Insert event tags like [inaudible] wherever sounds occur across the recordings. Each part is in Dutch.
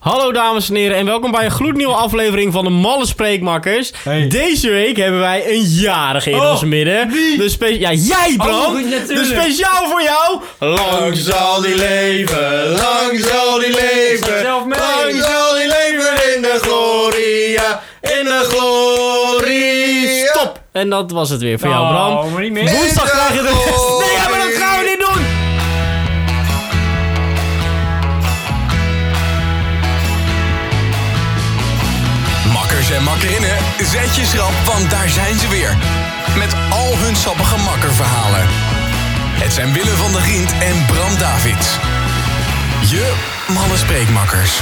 Hallo dames en heren en welkom bij een gloednieuwe aflevering van de Malle Spreekmakkers. Hey. Deze week hebben wij een jarige in Oh, ons midden. wie? Oh, De spe- ja, jij Bram! goed, natuurlijk. dus speciaal voor jou. Lang zal die leven, lang zal die leven. Zelf mee. Lang zal die leven in de gloria, in de gloria. Stop! En dat was het weer voor jou Bram. Oh, maar niet meer. Woensdag krijg je de gloria. Nee, ja, maar dat gaan we niet doen! Makkers en makkerinnen, zet je schrap, want daar zijn ze weer. Met al hun sappige makkerverhalen. Het zijn Willem van der Giend en Bram Davids. Je malle spreekmakkers.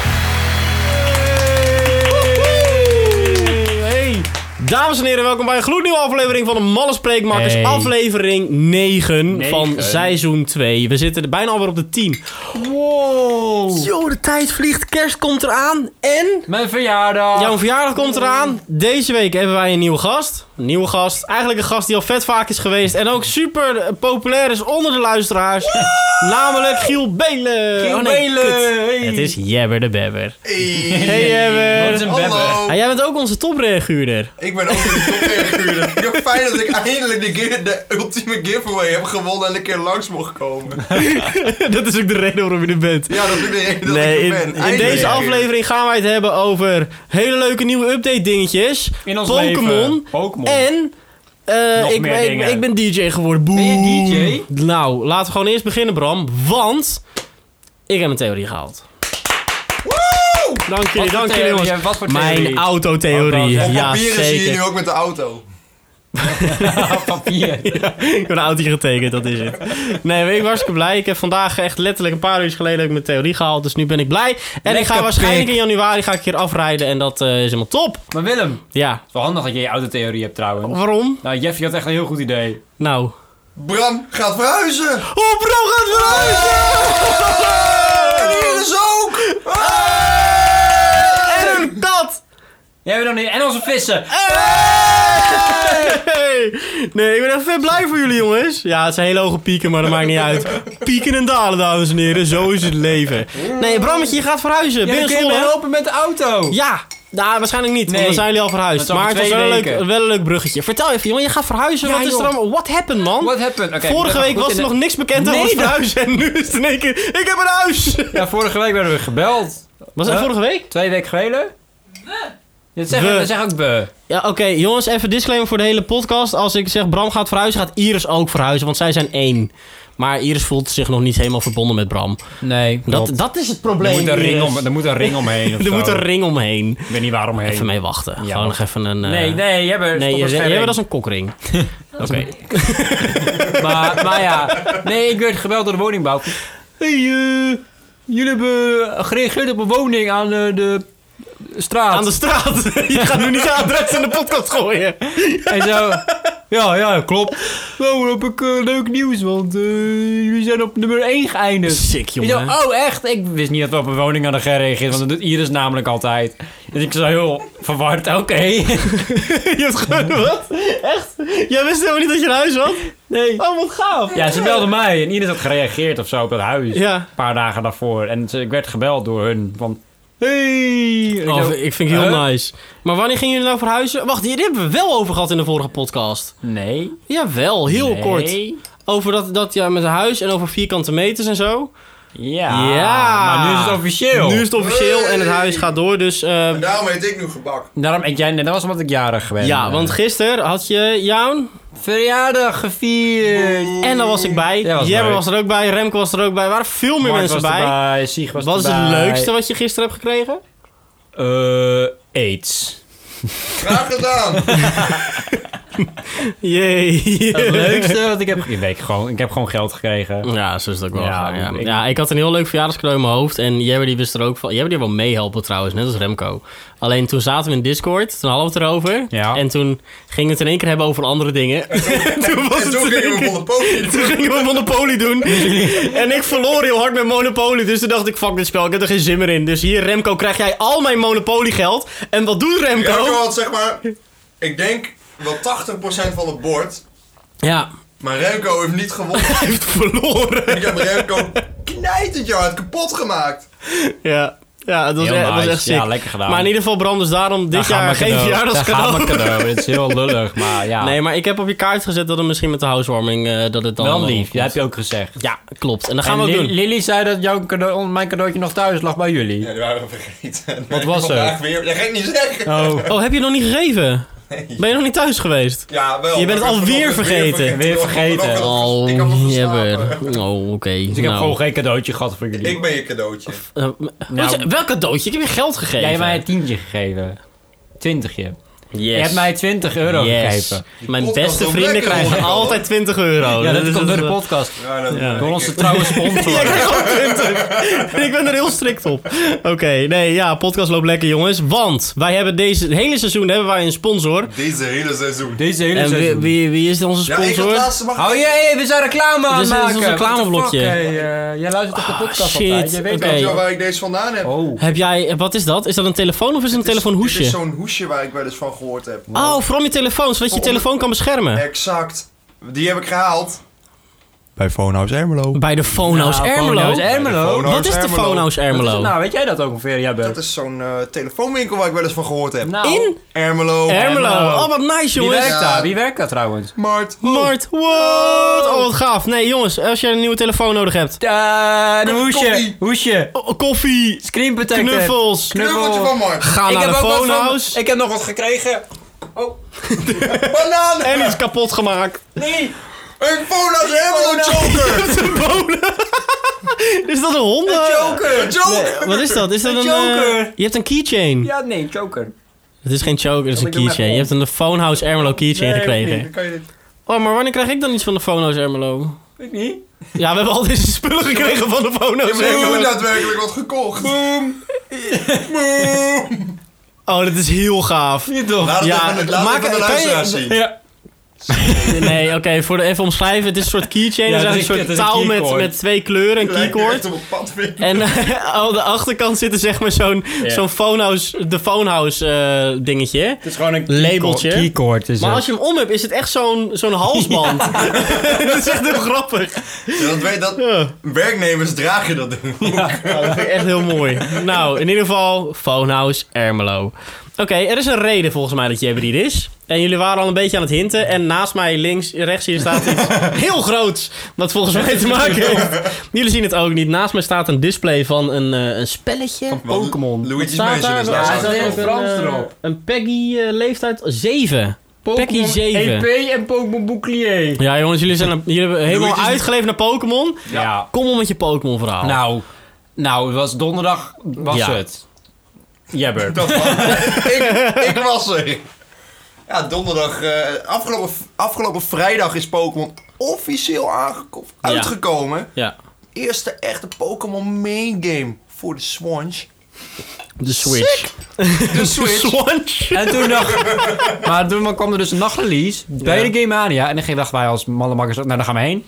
Hey. Dames en heren, welkom bij een gloednieuwe aflevering van de Malle Spreekmakers. Hey. Aflevering 9, van Negen. seizoen 2. We zitten er bijna alweer op de 10. Wow. Yo, de tijd vliegt. Kerst komt eraan. En? Mijn verjaardag. Jouw verjaardag komt eraan. Deze week hebben wij een nieuwe gast. Een nieuwe gast. Eigenlijk een gast die al vet vaak is geweest. En ook super eh, populair is onder de luisteraars. Namelijk Giel Belen. Giel Oh, nee, Belen, kut. hey. Het is Jebber de Bebber. Hey Jebber. Dat is een bebber. Hallo, Ah, jij bent ook onze topreguurder. ik ben ook in de topredacteur. Ik heb fijn dat ik eindelijk de, gi- de ultieme giveaway heb gewonnen en een keer langs mocht komen. dat is ook de reden waarom je er bent. Ja, dat is ook de reden dat Nee, ik in, er ben. in Eindelijk deze weer. aflevering gaan wij het hebben over hele leuke nieuwe update dingetjes. In ons Pokémon. leven. Pokémon. En eh, Nog ik, meer ik, dingen. ik ben DJ geworden. Boem. Ben je Nou, laten we gewoon eerst beginnen, Bram. Want ik heb een theorie gehaald. Oh! Dank jullie, Wat voor dank jullie theorie? jongens. Wat voor Mijn theorie? autotheorie. Op Op ja, papieren zie je Ah, [laughs] nu zeker. ook met de auto. [laughs] papier. Ik heb een autootje getekend, dat is het. Nee, maar ik was hartstikke blij. Ik heb vandaag echt letterlijk een paar uur geleden heb ik mijn theorie gehaald. Dus nu ben ik blij. En ik ga pik. waarschijnlijk in januari ga ik hier afrijden. En dat eh, is helemaal top. Maar Willem, het Ja, is wel handig dat je je autotheorie hebt trouwens. waarom? Nou, Jeffy had echt een heel goed idee. Nou. Bram gaat verhuizen! Oh, bro, gaat En hier is ook! En een kat! Jij bent nog niet... En onze vissen. Eh, Hey! Nee, ik ben echt vet blij voor jullie, jongens. Ja, het zijn hele hoge pieken, maar dat maakt niet uit. Pieken en dalen, dames en heren. Zo is het leven. Nee, Brammetje, je gaat verhuizen. Jij Binnen kun je me Zwolle. helpen met de auto. Ja, nou, waarschijnlijk niet, want Nee. dan zijn jullie al verhuisd. Dat is over Maar het was twee wel een, leuk, weken. wel een leuk bruggetje. Vertel even, jongen, je gaat verhuizen. Ja, Wat is er joh. allemaal? What happened, man? What happened? Oké, ik Vorige ben week goed was in er de- nog niks bekend Nee, over dat- verhuizen. [laughs] En nu is het in één keer, ik heb een huis. Ja, vorige week werden we gebeld. Was dat Huh? vorige week? Twee weken geleden. Dat zeg, We. dat zeg ook be. Ja, oké. jongens, even disclaimer voor de hele podcast. Als ik zeg Bram gaat verhuizen, gaat Iris ook verhuizen. Want zij zijn één. Maar Iris voelt zich nog niet helemaal verbonden met Bram. Nee. Dat, dat is het probleem, er, moet een ring Iris. om, er moet een [laughs] ring omheen of Er zo. moet een ring omheen. Ik weet niet waaromheen. Even mee wachten. Gewoon nog even een... eh, Nee, nee, jij Nee, bent... stop je eens zegt- geen ja, ring. dat is een kokring. Oké. Maar, maar ja, nee, ik werd gebeld door de woningbouw. Hey, eh, jullie hebben gereageerd op een woning aan eh, de straat. Aan de straat. je gaat nu niet je adres in de podcast gooien. En [laughs] zo, ja, ja, klopt. Nou, dan heb ik eh, leuk nieuws, want eh, jullie zijn op nummer 1 geëindigd. Sick, Ik jongen. [laughs] dacht, oh echt? Ik wist niet dat we op een woning hadden gereageerd, want dat doet Iris namelijk altijd. Dus ik zo heel verward, oké. je [laughs] hebt gewoon... Wat? Echt? Jij wist helemaal niet dat je een huis had? Nee. Oh, wat gaaf. Ja, ze belden mij en Iris had gereageerd of zo op dat huis. Ja. Een paar dagen daarvoor. En ze- ik werd gebeld door hun van... Hey! En ik Oh, zo, ik vind het heel Huh? nice. Maar wanneer gingen jullie nou verhuizen? Wacht, hier hebben we wel over gehad in de vorige podcast. Nee. Jawel, heel Nee. kort. Over dat, dat ja, met een huis en over vierkante meters en zo. Ja. Ja. Ah, Maar nu is het officieel. Nu is het officieel en het huis gaat door, dus... eh, Daarom heet ik nu gebak. Daarom, ik, jij, dat was omdat ik jarig ben. ja, want gisteren had je jouw... Verjaardag gevierd. En daar was ik bij. Jij was Jebber bij. was er ook bij. Remco was er ook bij. Er waren veel meer Mark mensen was bij. erbij, Sieg was Wat is erbij. het leukste wat je gisteren hebt gekregen? Eh, AIDS. Graag gedaan! Jee. Het leukste wat ik [laughs] heb... Ik, weet gewoon, ik heb gewoon geld gekregen. Ja, zo is het ook wel. Ja, Ja, ja. ik- ja, ik had een heel leuk verjaardagscadeau in mijn hoofd. En Jebber die wist er ook van. Jebber die wil meehelpen trouwens, net als Remco. Alleen toen zaten we in Discord, toen hadden we het erover. Ja. En toen gingen we het in één keer hebben over andere dingen. [laughs] toen was en het toen in één gingen we keer- van de pootje. Toen gingen we Monopoly [laughs] doen. En ik verloor heel hard met Monopoly. Dus toen dacht ik, fuck dit spel, ik heb er geen zin meer in. Dus hier, Remco, krijg jij al mijn Monopoly geld. En wat doet Remco? Remco had zeg maar, ik denk wel 80% van het [laughs] bord. Ja, Maar Remco heeft niet [laughs] gewonnen. hij heeft verloren. ik heb Remco knijtend jou uit kapot gemaakt. Ja. Ja, dat was, Heel echt- dat was nice. echt sick. Ja, lekker gedaan. Maar in ieder geval, Bram, dus daarom dit jaar geen Dat gaat verjaardagscadeau. me cadeau. Dit is heel lullig, maar ja. Nee, maar ik heb op je kaart gezet dat het misschien met de housewarming... eh, dat het dan wel eh, lief. opkomt. Dat heb je ook gezegd. Ja, klopt. En dat gaan En we Li- ook doen. Lily zei dat jouw cadeau, mijn cadeautje nog thuis lag bij jullie. Ja, die waren we vergeten. Wat was er? Vandaag Weer. Dat ga ik niet zeggen. Oh. Oh, heb je nog niet gegeven? Ben je nog niet thuis geweest? Ja, wel. Je bent maar ik het heb alweer vanochtend vergeten. Weer vergeten. Ik heb vanochtend- ik heb Oh, nog jebber. geslapen. Oh, oké. Dus ik heb gewoon geen cadeautje gehad voor jullie. Ik ben je cadeautje. Nou. welk cadeautje? Ik heb je geld gegeven. Jij hebt mij een tientje gegeven. Twintigje. yes. Je hebt mij 20 euro Yes. Oh, gegeven. Mijn podcast beste wil vrienden lekker krijgen worden, hoor. altijd 20 euro. Ja, dat is komt door het, de eh, podcast. Ja, dat Ja. Door [laughs] onze trouwe Jij sponsor. krijgt [laughs] gewoon 20. En ik ben er heel strikt op. Oké, nee, ja, podcast loopt lekker, jongens. Want wij hebben deze het hele seizoen hebben wij een sponsor. Deze hele seizoen. Deze hele En wie, seizoen. wie, wie is onze Ja, ik had sponsor? laatste mag Hou je, hey, we zijn reclame aan Dit het is- maken. dit is ons reclameblokje. Oh, What the fuck, hey, eh, jij luistert op de podcast shit. altijd. Je weet Oké. Nou, Weet wel. je wel waar ik deze vandaan heb? Oh. heb jij, wat is dat? Is dat een telefoon of is het een Dit is telefoonhoesje? zo'n hoesje waar ik wel eens van gehoord heb. Oh, voor om je telefoon, zodat je je Voor- telefoon kan beschermen. Exact. Die heb ik gehaald. Bij Phonehouse Ermelo. Bij de Phono's Nou, Ermelo. Phono's Ermelo. Phono's Wat is de Ermelo. Phono's Wat is Ermelo? het nou, weet jij dat ook ongeveer? Jij bent. Dat is zo'n eh, telefoonwinkel waar ik wel eens van gehoord heb. Nou, In Ermelo. Ermelo. Ermelo. Oh, wat nice, Wie jongens. werkt Ja. daar? Wie werkt daar trouwens? Mart. Mart, what? Oh, wat gaaf. Nee, jongens, als jij een nieuwe telefoon nodig hebt. Eh, een hoesje. koffie. Hoesje. Oh, koffie, Screen protector. knuffels. Knuffeltje van Mart. Ga Ik naar heb, de ook wat van, Phono's. ik heb nog wat gekregen. Banaan. En iets kapot [laughs] gemaakt. Nee. Een Phonehouse Ermelo joker. [laughs] Is dat een honden? Een joker. Wat is dat? Is dat Een een... joker. eh, je hebt een keychain. Ja, nee, joker. Het is geen choker, het is een Ik doe hem keychain. even Je hebt een Phonehouse Ermelo keychain gekregen. Dan kan je dit- Oh, maar wanneer krijg ik dan iets van de Phonehouse Ermelo? Weet ik niet. Ja, we hebben al deze spullen gekregen van de Phonehouse We hebben Ermelo. daadwerkelijk wat gekocht. Oh, dat is heel gaaf. Niet toch? Laat het Ja, even, laat maak- het even de kan je- luisteraars zien. Ja. Nee, oké, voor de even omschrijven. Het is een soort keychain. Ja, het is het is eigenlijk een- een soort het is touw een met, keycord. met twee kleuren, een Lijkt keycord. echt op een padvink. En eh, aan de achterkant zit er zeg maar zo'n Ja. zo'n phonehouse, de phonehouse eh, dingetje. Het is gewoon een Labeltje. Keycord is Maar het. als je hem om hebt, is het echt zo'n zo'n [laughs] halsband. [laughs] dat is echt heel grappig. Ja, Dat, weet- dat, Ja. werknemers dragen dat doen. Nou, dat vind ik echt heel mooi. Nou, in ieder geval, phonehouse Ermelo. Oké, er is een reden volgens mij dat je hier is. En jullie waren al een beetje aan het hinten. En naast mij, links, rechts hier staat [laughs] iets heel groots. Wat volgens mij te maken heeft. Jullie zien het ook niet. Naast mij staat een display van een, eh, een spelletje. Pokémon. Wat Luigi's staat Mansion daar? is Ja, daar. hij zo. staat Een, in Frans eh, erop. Een Peggy eh, leeftijd 7. Peggy 7. EP E en Pokémon Bouclier. Ja jongens, jullie, zijn, jullie hebben helemaal Doe het eens. uitgeleefd naar Pokémon. Ja. Kom om met je Pokémon verhaal. Nou, nou, het was donderdag was Ja. het. [laughs] Jebber. Dat [laughs] was- ik, ik was er. Ja, donderdag. eh, afgelopen, afgelopen vrijdag is Pokémon officieel aangeko- Ja. uitgekomen. Ja, Eerste echte Pokémon main game voor de Swans. de Switch. De [laughs] Switch. Switch. En toen dacht... maar toen kwam er dus een nachtrelease bij Ja. de Game Mania. En dan dachten wij als mannenmakkers... Nou, daar gaan we heen.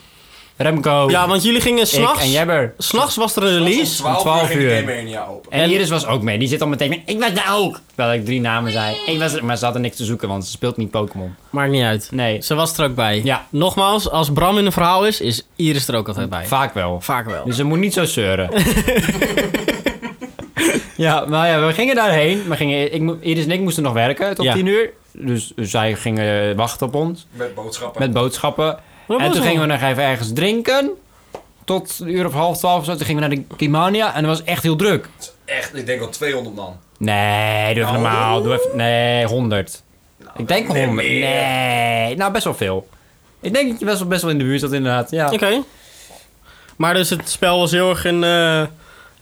Remco, Ja, want jullie gingen ik en s'nachts... Jebber. S'nachts was er een release. om 12 uur. Mania open. En, Iris was ook mee. Die zit al meteen met... Ik was daar ook. Terwijl ik drie namen zei. Ik was er, maar ze hadden niks te zoeken, want ze speelt niet Pokémon. Maakt niet uit. Nee, Ze was er ook bij. Ja. Nogmaals, als Bram in een verhaal is, is Iris er ook altijd bij. vaak wel. Vaak wel. Dus ze moet niet zo [laughs] zeuren. ja, maar ja, we gingen daarheen. We gingen, ik, mo- Iris en ik moesten nog werken tot Ja. 10 uur. Dus zij gingen wachten op ons Met boodschappen. met boodschappen. Wat en was toen er? gingen we nog even ergens drinken. Tot een uur of half twaalf of zo. Toen gingen we naar de Kimania en dat was echt heel druk. Echt, ik denk al 200 man. Nee, doe even Nou. normaal. Doe even, nee, 100. ik denk nee, 100. meer. Nee, nou best wel veel. Ik denk dat je best wel, best wel in de buurt zat inderdaad. Ja. Oké. Maar dus het spel was heel erg een... eh,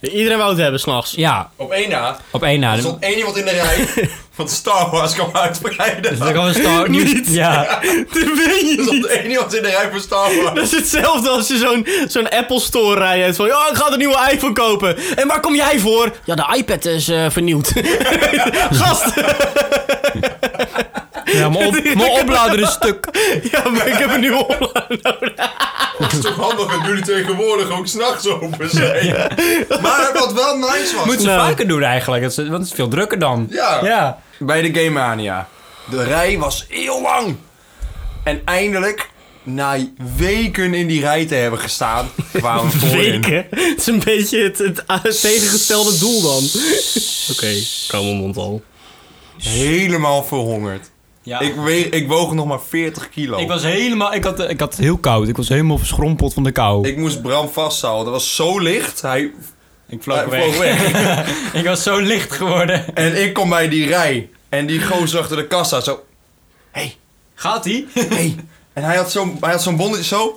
Iedereen wou het hebben s'nachts. ja, [laughs] Op één na op één na. er stond één iemand in de [laughs] rij van Star Wars kwam uitbreiden. Dat Dus Er was [laughs] Star Niet. Ja. Dat weet je stond één iemand in de rij van Star Wars. Dat is hetzelfde als je zo'n zo'n Apple Store rij hebt. Van, ja, ik ga een nieuwe iPhone kopen. En waar kom jij voor? Ja, de iPad is eh, vernieuwd. [laughs] Gast! ja mijn, [laughs] op, mijn oplader is stuk. Ja, maar ik heb een nieuwe oplader nodig. Het is toch handig dat jullie tegenwoordig ook s'nachts open zijn. Maar wat wel nice was. Moeten ze Nou. vaker doen eigenlijk. Dat is- Want het is veel drukker dan. Ja. ja. Bij de Game Mania. De rij was heel lang. En eindelijk na weken in die rij te hebben [laughs] gestaan, kwamen we voorin. Weken. Het is een beetje het, het eh, tegengestelde doel dan. Oké, kom mijn mond al. Helemaal verhongerd. Ja. Ik, weeg, ik woog nog maar 40 kilo. Ik was helemaal... Ik had, eh, ik had het heel koud. Ik was helemaal verschrompeld van de kou. Ik, Ik moest Bram vasthouden. Dat was zo licht. Hij, vloog hij weg. vloog [laughs] weg. ik was zo licht geworden. en ik kom bij die rij. En die gozer achter de kassa zo... [laughs] Gaat-ie? Hey. En hij had zo'n hij had zo'n bonnetje [laughs] zo...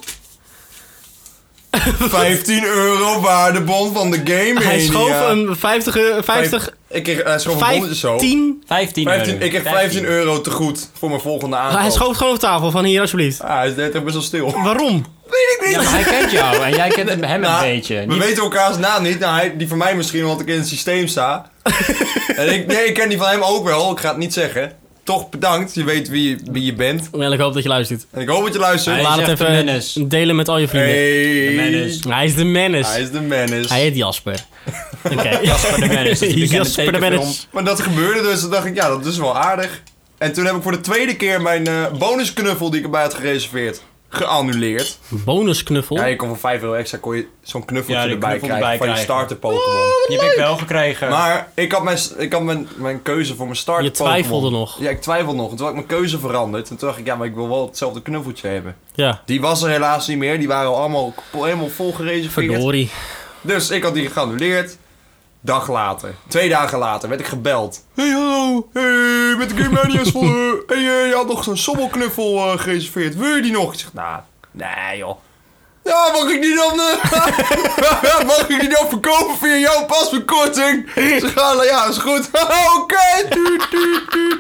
15 euro waardebon van de game Hij Mania. schoof een 50, eh, 50, Ik kreeg, eh, hij schoof een bonnetje zo. 15. 15 15, euro. ik kreeg 15 euro te goed voor mijn volgende aankoop. Hij schoof gewoon op tafel van hier alsjeblieft. Ah, hij is net echt best wel stil. Waarom? Weet ik niet. Ja, maar hij kent jou en jij kent hem hem een Nou, beetje. We Niet- weten elkaars naam niet. Nou, hij, die van mij misschien, want ik in het [laughs] systeem sta. en ik, nee, ik ken die van hem ook wel. Ik ga het niet zeggen. Toch bedankt. Je weet wie, je- wie je bent. Wel, ik hoop dat je luistert. En ik hoop dat je luistert. Hij Laat is het echt de menace. even delen met al je vrienden. Hey. menace. Hij is de menace. Hij is de menace. Hij heet [laughs] Jasper. Oké. Jasper de [laughs] Menace, die bekende Jasper de tekenfilm. Menace. Maar dat gebeurde dus. Toen dacht ik, ja, dat is wel aardig. En toen heb ik voor de tweede keer mijn eh, bonusknuffel die ik erbij had gereserveerd, geannuleerd. Bonusknuffel. Ja, je kon voor 5 euro extra kon je zo'n knuffeltje Ja, die erbij knuffel krijgen erbij van je krijgen. starter Pokémon. Die heb ik wel gekregen. Maar ik had mijn, ik had mijn, mijn keuze voor mijn start. Je twijfelde Pokémon. nog. Ja, ik twijfelde nog. En toen had ik mijn keuze veranderd. En toen dacht ik, ja, maar ik wil wel hetzelfde knuffeltje hebben. Ja. Die was er helaas niet meer. Die waren allemaal kapot- helemaal vol gereserveerd. [laughs] Verdorie. Dus ik had die geannuleerd. Dag later, twee dagen later, werd ik gebeld. Hey, hallo. Hey, met de Game Mania's van... [laughs] eh, hey, eh, je had nog zo'n sobbelknuffel eh, gereserveerd. Wil je die nog? Ik zeg, nou, nee joh. Ja, mag ik die dan... eh, [laughs] mag ik die dan verkopen via jouw pasverkorting? Ze gaan, nou ja, is goed. [laughs] Oké. tuut, tuut, tuut.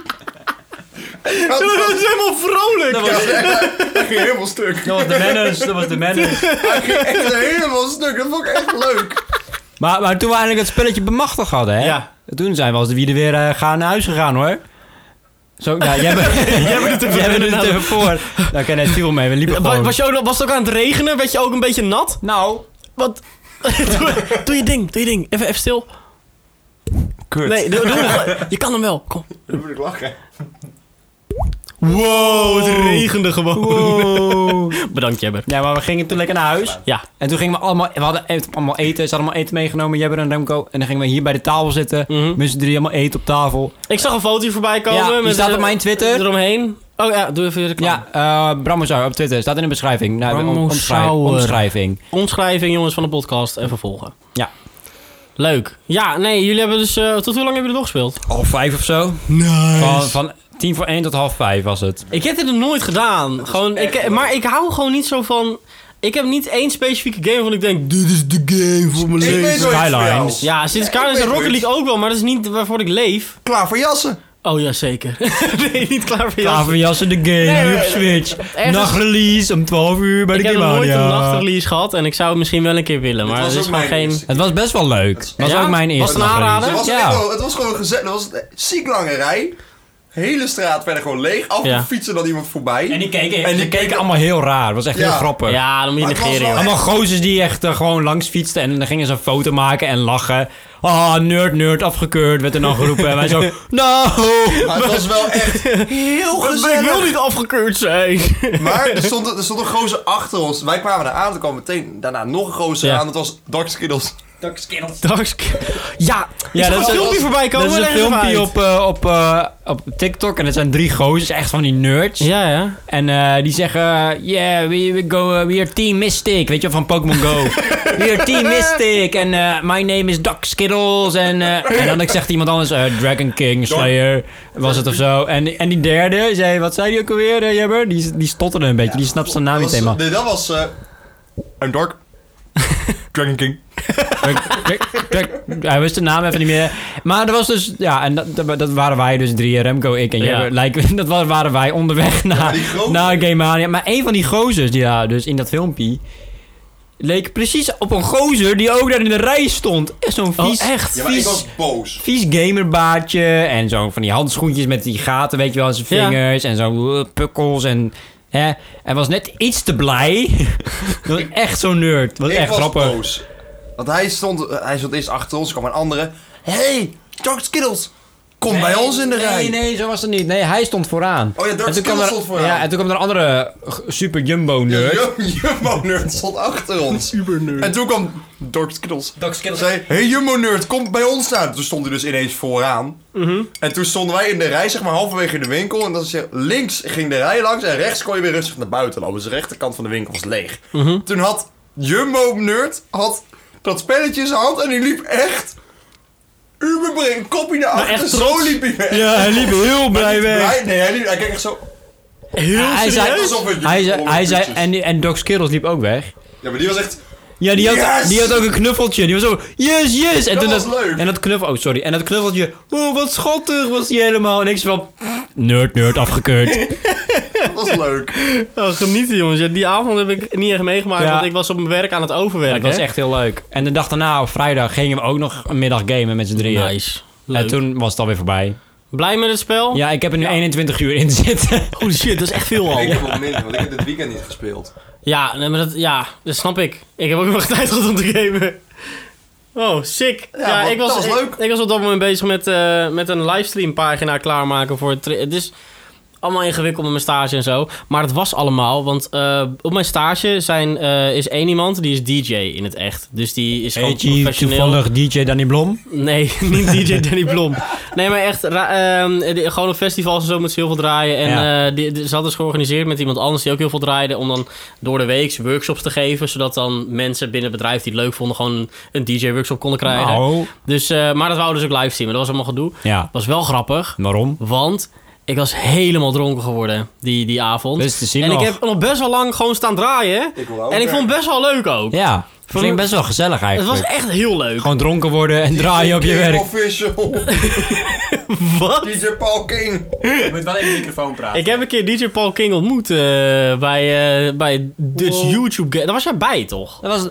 Dat was- helemaal vrolijk. dat, ja, was, Hij ging helemaal stuk. dat was de menace, dat was de menace. Hij ging echt helemaal stuk. Dat vond ik echt leuk. Maar, maar toen we eindelijk het spelletje bemachtigd hadden, hè? Ja. Toen zijn we als de wieden weer eh, gaan naar huis gegaan, hoor. Zo, ja, jij bent, jij bent er [laughs] jij bent er voor. Nou, ken net veel mee, we liepen Was, gewoon. was, je ook, was het ook aan het regenen? Werd je ook een beetje nat? [laughs] Nou, Wat? doe, doe je ding, doe je ding. Even, even stil. Kut. Nee, doe, [laughs] doe hem. Je kan hem wel. Kom. Dan moet ik lachen. Wow, het regende gewoon. wow. Bedankt, Jebber. Ja, maar we gingen toen lekker naar huis. Ja. En toen gingen we allemaal, we hadden et- allemaal eten, ze hadden allemaal eten meegenomen, Jebber en Remco. En dan gingen we hier bij de tafel zitten, Mhm. met z'n drie allemaal eten op tafel. Ik zag een foto voorbij komen. Ja, die met staat op eh, mijn Twitter. Eromheen. Oh ja, doe even de reclame. Ja, eh Bramozauer op Twitter, staat in de beschrijving. Nou, de om- Bramozauer. omschrij- omschrijving. Omschrijving, jongens, van de podcast. Even volgen. Ja. Leuk. Ja, nee, jullie hebben dus... eh, tot hoe lang hebben jullie doorgespeeld? Half vijf of zo? Van, van tien voor één tot half vijf was het. Ik heb dit nog nooit gedaan. Gewoon, ik, maar ik hou gewoon niet zo van... Ik heb niet één specifieke game waarvan ik denk... Dit is de game voor mijn Ik leven. weet wel iets voor jou. Skylines. Ja, sinds Ik Carlos weet en Rocket het. League ook wel, maar dat is niet waarvoor ik leef. Klaar voor jassen. Oh, ja, zeker. [laughs] nee, niet klaar voor jou. Klaverjassen de game, op Switch. Ergens- Nachtrelease om 12 uur bij Ik de heb nog nooit een Game nachtrelease gehad en ik zou het misschien wel een keer willen, maar het is gewoon geen... Het was best wel leuk. Het was Ja? ook mijn Was eerste het een nachtrelease. aanrader? Het was, echt Ja. wel- het was gewoon gezellig. Het was een ziek lange rij. Hele straat verder gewoon leeg. Af en Ja. toe fietsen dan iemand voorbij. En die keken, En en die die keken keken- allemaal heel raar. Het was echt Ja. heel grappig. Ja, dan moet je Maar het was negeren, wel joh. Allemaal gozers die echt eh, gewoon langs fietsten en dan gingen ze een foto maken en lachen. Ah, nerd, nerd, afgekeurd, werd er dan geroepen. En wij zo, [laughs] no! Maar het was wel echt heel Dus Ik wil gezellig. niet afgekeurd zijn. [laughs] Maar er stond, er stond een gozer achter ons. Wij kwamen daar aan. Er kwam meteen daarna nog een gozer Ja. aan. Dat was Dark Skittles. Dagsk. Ja, Ja, ja dat dat is is- een filmpje voorbij komen. Dat is een leg even uit. filmpje op, eh, op, eh, op TikTok en het zijn drie gozers, echt van die nerds. Ja, ja. En eh, die zeggen, yeah, we, we, go, eh, we are Team Mystic. Weet je wel, van Pokémon Go. we are Team Mystic. En eh, my name is Doc Skittles. En, eh, en dan zegt iemand anders, eh, Dragon King, Slayer, was het of zo. En, en die derde, zei, wat zei die ook alweer, eh, Jebber? Die, die stotterde een beetje, die snapt zijn naam niet Dat was- helemaal. Nee, dat was... eh I'm [laughs] Dark. Dragon King. Drag- drag- drag- Hij wist de naam even niet meer. Maar er was dus, ja, en dat, dat, dat waren wij dus drieën, Remco, ik en Ja. Jebber. Lijken- dat wa- waren wij onderweg naar, die gozer. naar Game Mania. Maar een van die gozers die daar dus in dat filmpje leek precies op een gozer die ook daar in de rij stond. Echt Zo'n vies, Oh, echt? Ja, maar ik vies, was boos. vies gamerbaardje en zo van die handschoentjes met die gaten, weet je wel, aan zijn Ja. vingers en zo eh, pukkels en... Hè? Hij was net iets te blij. [laughs] dat was echt zo'n nerd. Dat was Ik echt was grappig. boos. eh, Want hij stond, hij stond eerst achter ons. Er kwam een andere. Hey, Dark Skittles. Kom bij ons in de nee, rij. Nee, nee, zo was het niet. Nee, hij stond vooraan. Oh ja, Dark En toen kwam Skull er- stond vooraan. Ja, en toen kwam er een andere eh, super jumbo nerd. Jum- Jumbo Nerd stond achter [laughs] ons. En toen kwam Dark Skittles. Dark Skittles. Zei, hey Jumbo Nerd, kom bij ons staan. Toen stond hij dus ineens vooraan. Mhm. En toen stonden wij in de rij, zeg maar halverwege in de winkel. En dan zeg links ging de rij langs en rechts kon je weer rustig naar buiten lopen. Dus de rechterkant van de winkel was leeg. Mhm. Toen had Jumbo Nerd had dat spelletje in zijn hand en die liep echt... Uberbring, een kopje naar achter. echt zo trots. liep hij weg. Ja, hij liep heel blij Hij- nee, hij, liep, hij keek echt zo... Heel Hij zei, serieus? Alsof het hij zei, Jumbo hij zei Nerd is. en, en Doc Skittles liep ook weg. Ja, maar die was echt... Ja, die had, Yes! die had ook een knuffeltje. Die was zo, yes, yes. En Dat toen was leuk. En dat knuffel, oh sorry. En dat knuffeltje, oh wat schattig was die helemaal. En ik zo van, nerd, nerd, afgekeurd. Dat [laughs] was leuk. Oh, genieten jongens. Ja, die avond heb ik niet echt meegemaakt, Ja. want ik was op mijn werk aan het dat overwerken. was echt heel leuk. En de dag daarna, op vrijdag, gingen we ook nog een middag gamen met z'n drieën. nice. En Leuk. toen was het alweer voorbij. Blij met het spel? Ja, ik heb er nu 21 uur in zitten. Holy shit, dat is echt veel al. [laughs] Ik heb wat minder, want ik heb dit weekend niet gespeeld. Ja, nee, maar dat, ja, dat snap ik. Ik heb ook nog [laughs] tijd gehad om te gamen. Oh, sick. Ja, wat- ik was, dat was ik- leuk. Ik, was op dat moment bezig met, eh, met een livestreampagina klaarmaken voor het... tra- Het is allemaal ingewikkeld met mijn stage en zo. Maar het was allemaal, want eh, op mijn stage zijn, eh, is één iemand, die is DJ in het echt. Dus die is gewoon Heet je professioneel. toevallig DJ Danny Blom? Nee, [laughs] niet [laughs] DJ Danny Blom. Nee, maar echt, ra- ehm, die- gewoon op festivals en zo moet ze heel veel draaien. En Ja. eh, die, die- ze hadden dus georganiseerd met iemand anders die ook heel veel draaide... om dan door de week workshops te geven... zodat dan mensen binnen het bedrijf die het leuk vonden... gewoon een, DJ-workshop konden krijgen. Nou, Dus, eh, maar dat wouden dus ook livestreamen. Dat was allemaal gedoe. ja. was wel grappig, Waarom? want ik was helemaal dronken geworden die, die avond. Dus te zien en nog. ik heb nog best wel lang gewoon staan draaien. Ik wil ook en ik werken. vond het best wel leuk ook. Ja, vind ik best wel gezellig Het eigenlijk. was echt heel leuk. Gewoon dronken [laughs] worden en draaien op Ah, je King werk. Official. Wat? DJ Paul King. Je moet wel in de microfoon praten. Ik heb een keer DJ Paul King ontmoet eh, bij, eh, bij Dutch YouTube Game. Daar was jij bij, toch? Dat was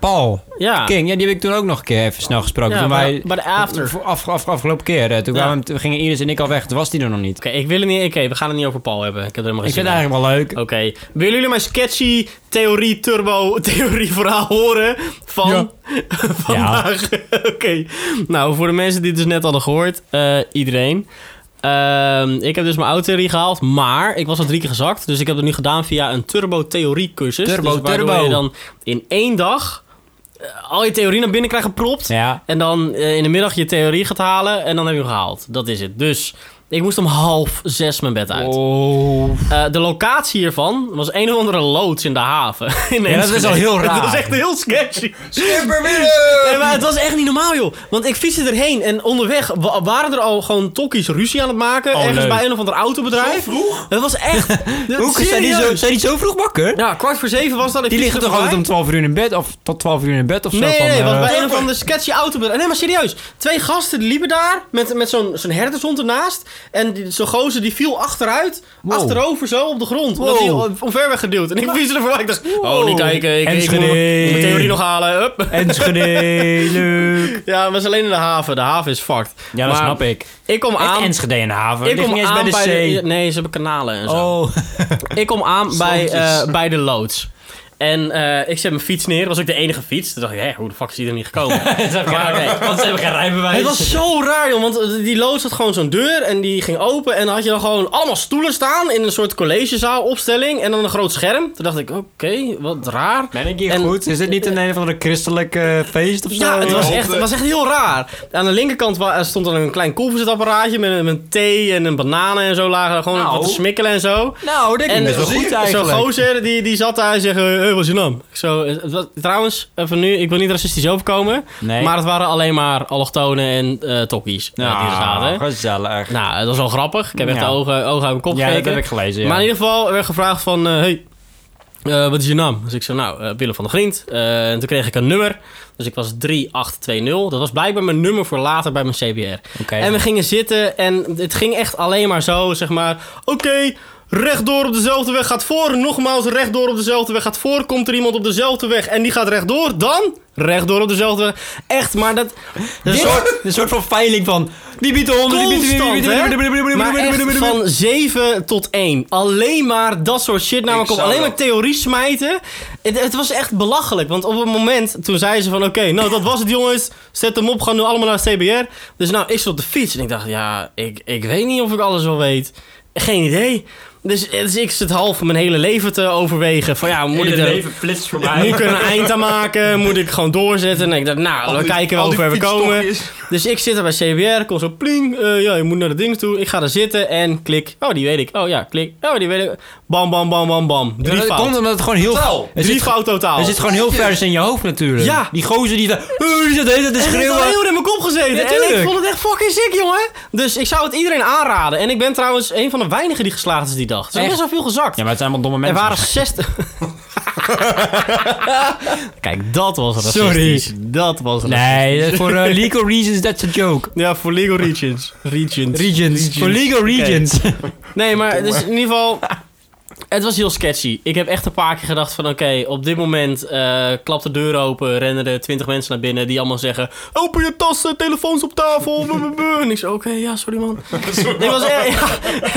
Paul Ja. King. Ja, die heb ik toen ook nog een keer even snel gesproken. Ja, toen bij, wij bij de after. Oké, Voor Af, af, afgelopen keer. eh, toen, Ja. kwamen we- toen gingen Iris en ik al weg. Toen was die er nog niet. ik wil het niet... Oké, we gaan het niet over Paul hebben. Ik heb er helemaal geen ik vind zin het in. eigenlijk wel leuk. Oké. Willen jullie mijn sketchy theorie turbo [laughs] theorie verhaal horen van [laughs] Ja. vandaag? [laughs] Oké. Nou, voor de mensen die het dus net hadden gehoord, eh, iedereen. Ehm, ik heb dus mijn oude theorie gehaald, maar ik was al drie keer gezakt. Dus ik heb het nu gedaan via een turbo theorie cursus. Turbo, dus waardoor turbo. je dan in één dag eh, al je theorie naar binnen krijgt gepropt. Ja. En dan eh, in de middag je theorie gaat halen en dan heb je hem gehaald. Dat is het. Dus ik moest om half zes mijn bed uit. Oh. Eh, de locatie hiervan was een of andere loods in de haven. [laughs] In Ja, dat is Enschede. al heel raar. [laughs] Dat was echt heel sketchy. Skipper Nee, Willem. maar het was echt niet normaal, joh. Want ik fietste erheen en onderweg wa- waren er al gewoon tokkies ruzie aan het maken. ergens Oh, leuk. bij een of ander autobedrijf. Zo vroeg? Het was echt... [laughs] Hoe serieus. zijn die, zo, zijn die zo vroeg wakker? Ja, kwart voor zeven was dat. ik fietste die liggen toch voorbij. altijd om 12 uur in bed? Of tot 12 uur in bed of zo? Nee, van, nee, eh, want bij een of andere sketchy autobedrijf. Ah, Nee, maar serieus. Twee gasten die liepen daar met, met zo'n zo'n herdershond ernaast. En die- zo'n gozer die viel achteruit, Wow. achterover zo op de grond. Omdat Wow. hij al- omver werd geduwd. En ik vies er voorbij. Ik dacht, oh, niet kijken. Ik, ik moet Enschede. mijn theorie nog halen. Hup. Enschede, [laughs] leuk. Ja, maar het is alleen in de haven. De haven is fucked. Ja, dat Maar snap ik. Ik kom Echt aan... Enschede in de haven. Ik Ligt kom niet eens aan bij de zee. Nee, ze hebben kanalen en zo. oh. Ik kom aan bij, Zandjes. eh, bij de loods. En eh, ik zet mijn fiets neer. Dat was ook de enige fiets. Toen dacht ik, hé, hoe de fuck is die er niet [laughs] gekomen? maar oké. Want ze hebben geen rijbewijs. Het was zo raar, joh. Want eh, die loods had gewoon zo'n deur en die ging open. En dan had je dan gewoon allemaal stoelen staan in een soort collegezaal opstelling. En dan een groot scherm. Toen dacht ik, oké, wat raar. Ben ik hier En- goed? Is dit niet een een of andere christelijk eh, feest of zo? Ja, het was, Ja, echt, op- het was echt heel raar. Aan de linkerkant wa- eh, stond dan een klein koffiezetapparaatje met een, met een thee en een bananen en zo lagen. er Gewoon Nou. wat te smikkelen en zo. Nou, dat En is best wel goed zo'n eigenlijk. gozer die, die zat daar en zei, eh, hey, wat is je naam? Ik Zo, eh, wat- trouwens, even nu, ik wil niet racistisch overkomen. Nee. Maar het waren alleen maar allochtonen en eh tokkies eh, die er zaten. Nou, gezellig. Nou, dat was wel grappig. Ik heb echt Ja. de ogen, ogen uit mijn kop Ja, dat gekeken. heb ik gelezen, ja. Maar in ieder geval werd gevraagd van... eh, hey, eh, wat is je naam? Dus ik zei, nou, eh, Willem van der Grint. Eh, en toen kreeg ik een nummer. Dus ik was 3820. Dat was blijkbaar mijn nummer voor later bij mijn CBR. Oké. En we gingen zitten en het ging echt alleen maar zo, zeg maar... Oké, rechtdoor op dezelfde weg gaat voor. Nogmaals, rechtdoor op dezelfde weg gaat voor. Komt er iemand op dezelfde weg en die gaat rechtdoor. Dan rechtdoor op dezelfde weg. Echt, maar dat... dat Een is- soort, een soort van veiling van. Die biedt de honden, die biedt Constant, hè? Maar echt van 7 tot 1. Alleen maar dat soort shit. Namelijk Ik op zou alleen maar dat- theorie smijten. Het, het was echt belachelijk. Want op het moment toen zeiden ze van... Oké, nou dat was het jongens. Zet hem op. Gaan nu allemaal naar CBR. Dus nou, ik zat op de fiets. En ik dacht, ja, ik, ik weet niet of ik alles wel weet. Geen idee. Dus, dus ik zit half mijn hele leven te overwegen. Van ja, moet ik Hele er... leven flitst voorbij. Moet ik er een eind aan maken? Moet ik gewoon doorzetten? En ik dacht, nou, we kijken wel Al die hoe ver we komen. fietstochtjes. Dus ik zit er bij CBR, kom zo pling. eh, ja, je moet naar de ding toe. Ik ga er zitten en klik. Oh, die weet ik. Oh ja, klik. Oh, die weet ik. Bam, bam, bam, bam, bam. Drie Dat fout. komt omdat het gewoon heel... Totaal. Er Drie zit, fout totaal. er zit gewoon heel vers in je hoofd natuurlijk. Ja. Die gozer die... daar- "Eh, Die zit de hele tijd te Het heeft al schreeuwen. heel in mijn kop gezeten. Ja, en ik tuurlijk. vond het echt fucking sick, jongen. Dus ik zou het iedereen aanraden. En ik ben trouwens een van de weinigen die geslaagd is die dag. Er is Echt? best wel veel gezakt. Ja, maar het zijn allemaal domme er mensen. waren [laughs] 60. Kijk, dat was Sorry. racistisch. Dat was racistisch. [laughs] Nee, dat is voor eh, legal reasons, that's a joke. Ja, voor legal regions. Regions. Regions. Voor legal [laughs] regions. Nee, maar dus in ieder geval... Het was heel sketchy. Ik heb echt een paar keer gedacht van... Oké, op dit moment eh, klapt de deur open... rennen er twintig mensen naar binnen... die allemaal zeggen... Open je tassen, telefoons op tafel... [laughs] buh, buh, buh." En ik zo... Oké, ja, sorry man. ik, was, eh,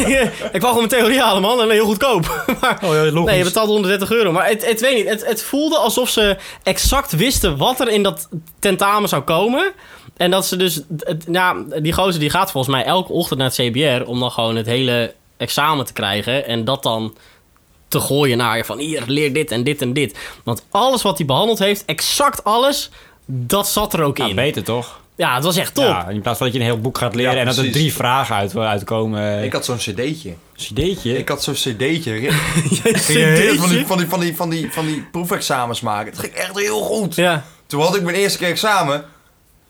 ja, [laughs] ik wou gewoon mijn theorie halen, man. En heel goedkoop. [laughs] maar, Oh ja, logisch. Nee, je betaalt 130 euro. Maar het, het, weet niet, het, het voelde alsof ze exact wisten... wat er in dat tentamen zou komen... En dat ze dus, het, ja, die gozer die gaat volgens mij elke ochtend naar het CBR om dan gewoon het hele examen te krijgen. En dat dan te gooien naar je van hier, leer dit en dit en dit. Want alles wat hij behandeld heeft, exact alles, dat zat er ook Ja, in. beter toch? ja, het was echt top. [laughs] Ja, in plaats van dat je een heel boek gaat leren Ja, en dat er precies. drie vragen uit, uitkomen. Ik had zo'n cd'tje. cd'tje. Ik had zo'n cd'tje. [laughs] Ging je heel Cd'tje? van die, van, die, van, die, van, die, van die proefexamens maken. Het ging echt heel goed. Ja. Toen had ik mijn eerste keer examen.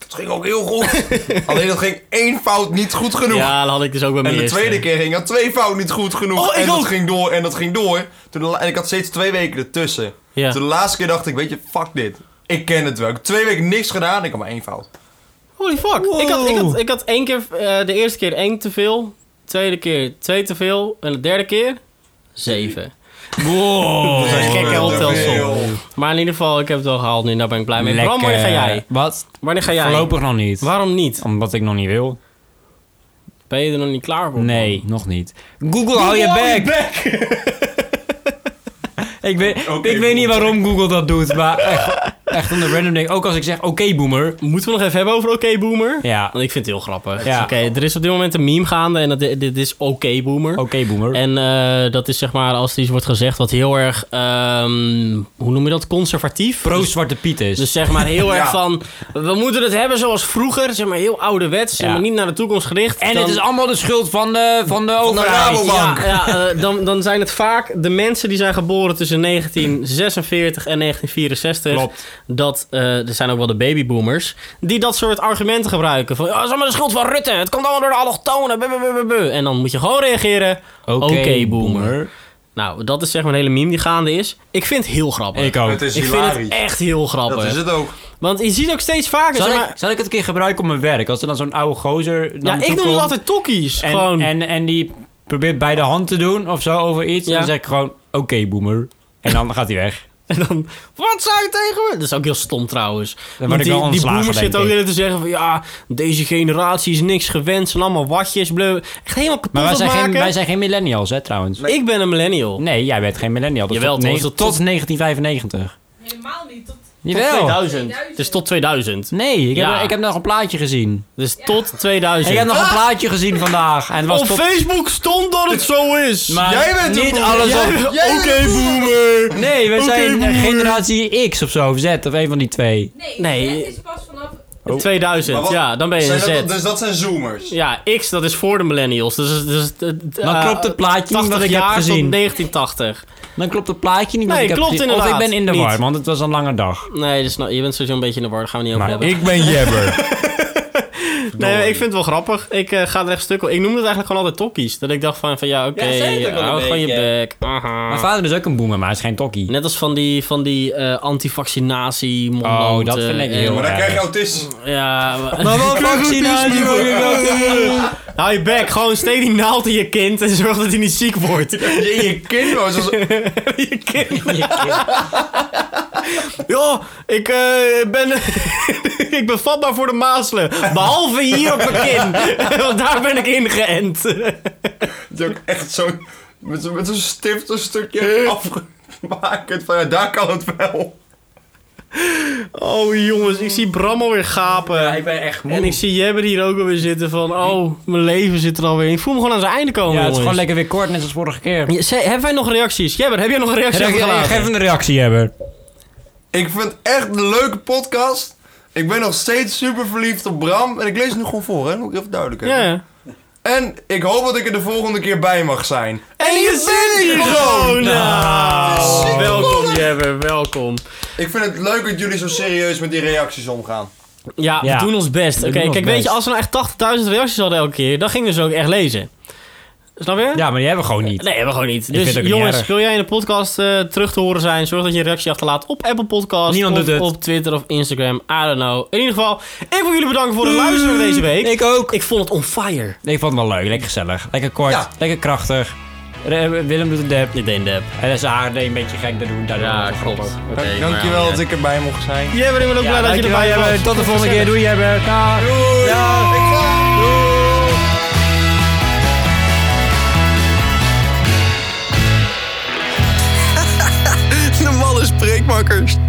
Het ging ook heel [laughs] goed. Alleen dat ging één fout niet goed genoeg. ja, dat had ik dus ook bij En mijn de eerste. tweede keer ging dat twee fouten niet goed genoeg. Oh, ik en ook. dat ging door en dat ging door. Toen de la- en ik had steeds twee weken ertussen. Ja. Toen de laatste keer dacht ik, weet je, fuck dit. Ik ken het wel. Ik heb twee weken niks gedaan. Ik had maar één fout. Holy fuck. Wow. Ik, had, ik, had, ik had één keer, eh, de eerste keer één te veel, tweede keer twee te veel en de derde keer zeven. Wow. [laughs] Dat is een gekke Oh, optelsom. veel. Maar in ieder geval, ik heb het wel gehaald nu, daar ben ik blij mee. Bram, wanneer ga jij? Wat? Wanneer ga jij? Voorlopig nog niet. Waarom niet? Omdat ik nog niet wil. Ben je er nog niet klaar voor? Nee, nog niet. Google, hou je je bek! [laughs] Ik weet, Oké, ik weet boomer. niet waarom Google dat doet, maar echt, echt een random ding. Ook als ik zeg, oké boomer. Moeten we nog even hebben over Oké Boomer? Ja, oké Want ik vind het heel grappig. Ja. Oké, er is op dit moment een meme gaande en dat, dit is Oké Boomer. boomer. En eh, dat is zeg maar als er iets wordt gezegd wat heel erg, ehm, hoe noem je dat, conservatief? Pro Dus- Zwarte Piet is. Dus zeg maar heel [laughs] Ja. erg van, we moeten het hebben zoals vroeger, zeg maar heel ouderwets, zeg Ja. maar niet naar de toekomst gericht. en Dan- het is allemaal de schuld van de, van de de overheid. Rabobank. Ja. Ja, ja eh, dan, dan zijn het vaak de mensen die zijn geboren tussen 1946 en 1964. Klopt. Dat, eh, er zijn ook wel de babyboomers. Die dat soort argumenten gebruiken. Van, ja, het is allemaal de schuld van Rutte. Het komt allemaal door de allochtonen. bu, bu, bu, bu, bu." En dan moet je gewoon reageren. Oké, boomer. Nou, dat is zeg maar een hele meme die gaande is. Ik vind het heel grappig. Ik ook. Het is Ik vind het hilarisch. echt heel grappig. Dat is het ook. Want je ziet ook steeds vaker... Zal zeg maar- ik, zal ik het een keer gebruiken op mijn werk? Als er dan zo'n oude gozer... naar ja, me toe ik noem komt het altijd tokkies. En, gewoon. en, en die probeert bij de hand te doen of zo over iets. Ja. Dan zeg ik gewoon, oké boomer. En dan gaat hij [laughs] weg. En dan, wat zou je tegen me? Dat is ook heel stom trouwens. word Want ik die, wel die ontslagen, boomers denk zitten ook ik. weer te zeggen van... Ja, deze generatie is niks gewend. Zijn allemaal watjes. Bleu. Echt helemaal kapot Maar wij aan het zijn, geen, maken. wij zijn geen millennials, hè, trouwens. Nee, Ik ben een millennial. jij bent geen millennial. Dat is Jawel, tot, toch? ne- Tot- tot 1995. Helemaal niet. Tot... Tot Jawel. 2000. Dus tot 2000. Nee, ik heb, Ja. ik heb nog een plaatje gezien. Dus tot Ik 2000. heb nog een plaatje gezien vandaag. En het was Op tot... Facebook stond dat het zo is. Maar Jij bent een niet boemer. alles Jij op... bent- Oké, boomer. Nee, we zijn boomer. generatie X of zo, of Z, of een van die twee. Nee, Nee. het is pas vanaf... 2000, Maar wat- ja, dan ben je een Zijn Z. dat, dus dat zijn zoomers. Ja, X, dat is voor de millennials. Dus, dus, dus, Dan klopt het plaatje niet wat ik heb jaar gezien. tot 1980. Dan klopt het plaatje niet. wat Nee, ik heb klopt gezien. Of ik inderdaad ben in de niet. war, want het was een lange dag. Nee, dus, nou, je bent sowieso een beetje in de war. Daar gaan we niet over Maar hebben. ik ben jebber. Nee, ik vind het wel grappig. Ik eh, ga er echt stuk op. Ik noemde het eigenlijk gewoon altijd tokkies. Dat ik dacht van, van ja, oké, Ja, eh, zei het ook wel een hou gewoon je beetje. bek. Aha. Mijn vader is ook een boomer, maar hij is geen tokkie. Net als van die, van die eh anti-vaccinatie mondanten. Oh, dat vind ik en- heel Maar erg. [laughs] Ja. dan krijg je autistisch. Ja, maar- [laughs] Maar wat vaccinatie wil je wel Hou je bek, gewoon steek die naald in je kind en zorg dat hij niet ziek wordt. Je, je kind was als... je kind. [laughs] Ja, ik eh, ben, [laughs] ik ben vatbaar voor de mazelen. Behalve hier op mijn kin. [laughs] Want daar ben ik ingeënt. Het is ook echt zo... Met, zo'n- met zo'n stift een [laughs] stukje afgemaakt. Van ja, daar kan het [laughs] wel. Oh jongens, ik zie Bram alweer gapen. ben echt en ik zie Jebber hier ook alweer zitten van... Oh, mijn leven zit er alweer in. Ik voel me gewoon aan zijn einde komen, Ja, het is jongens. gewoon lekker weer kort, net als vorige keer. Ja, ze- hebben wij nog reacties? Jebber, heb jij nog een reactie Geef achtergelaten? hem een reactie hebben. Ik vind het echt een leuke podcast. Ik ben nog steeds super verliefd op Bram. En ik lees het nu gewoon voor, hè. Moet ik even duidelijk hebben. Ja. En ik hoop dat ik er de volgende keer bij mag zijn. En je zit hier gewoon! Nou, welkom Jebber, welkom. Ik vind het leuk dat jullie zo serieus met die reacties omgaan. Ja, Ja. we doen ons best. Oké, doen ons kijk, weet best. je, als we nou echt 80.000 reacties hadden elke keer, dan gingen we ze ook echt lezen. Snap je? Ja, maar die hebben we gewoon niet. Nee, hebben we gewoon niet. Dus vind het ook niet jongens, erg. wil jij in de podcast eh, terug te horen zijn? Zorg dat je een reactie achterlaat op Apple Podcast. Niemand of doet het. op Twitter of Instagram. I don't know. In ieder geval, ik wil jullie bedanken voor het luisteren deze week. Ik ook. Ik vond het on fire. Ik vond het wel leuk, lekker gezellig. Lekker kort, Ja. lekker krachtig. Re- eh, Willem doet een dab. Dit deed de app. En zijn haar deed een beetje gek, dat doen. Daardoor was het grappig. Oké, Dankjewel dat ik erbij mocht zijn. Jij bent ook blij dat je dankjewel, erbij Jebber. was. Tot de volgende keer. Doei, Jebber. Dag. Doei! Ja. Ik ga! Doei! De malle spreekmakkers.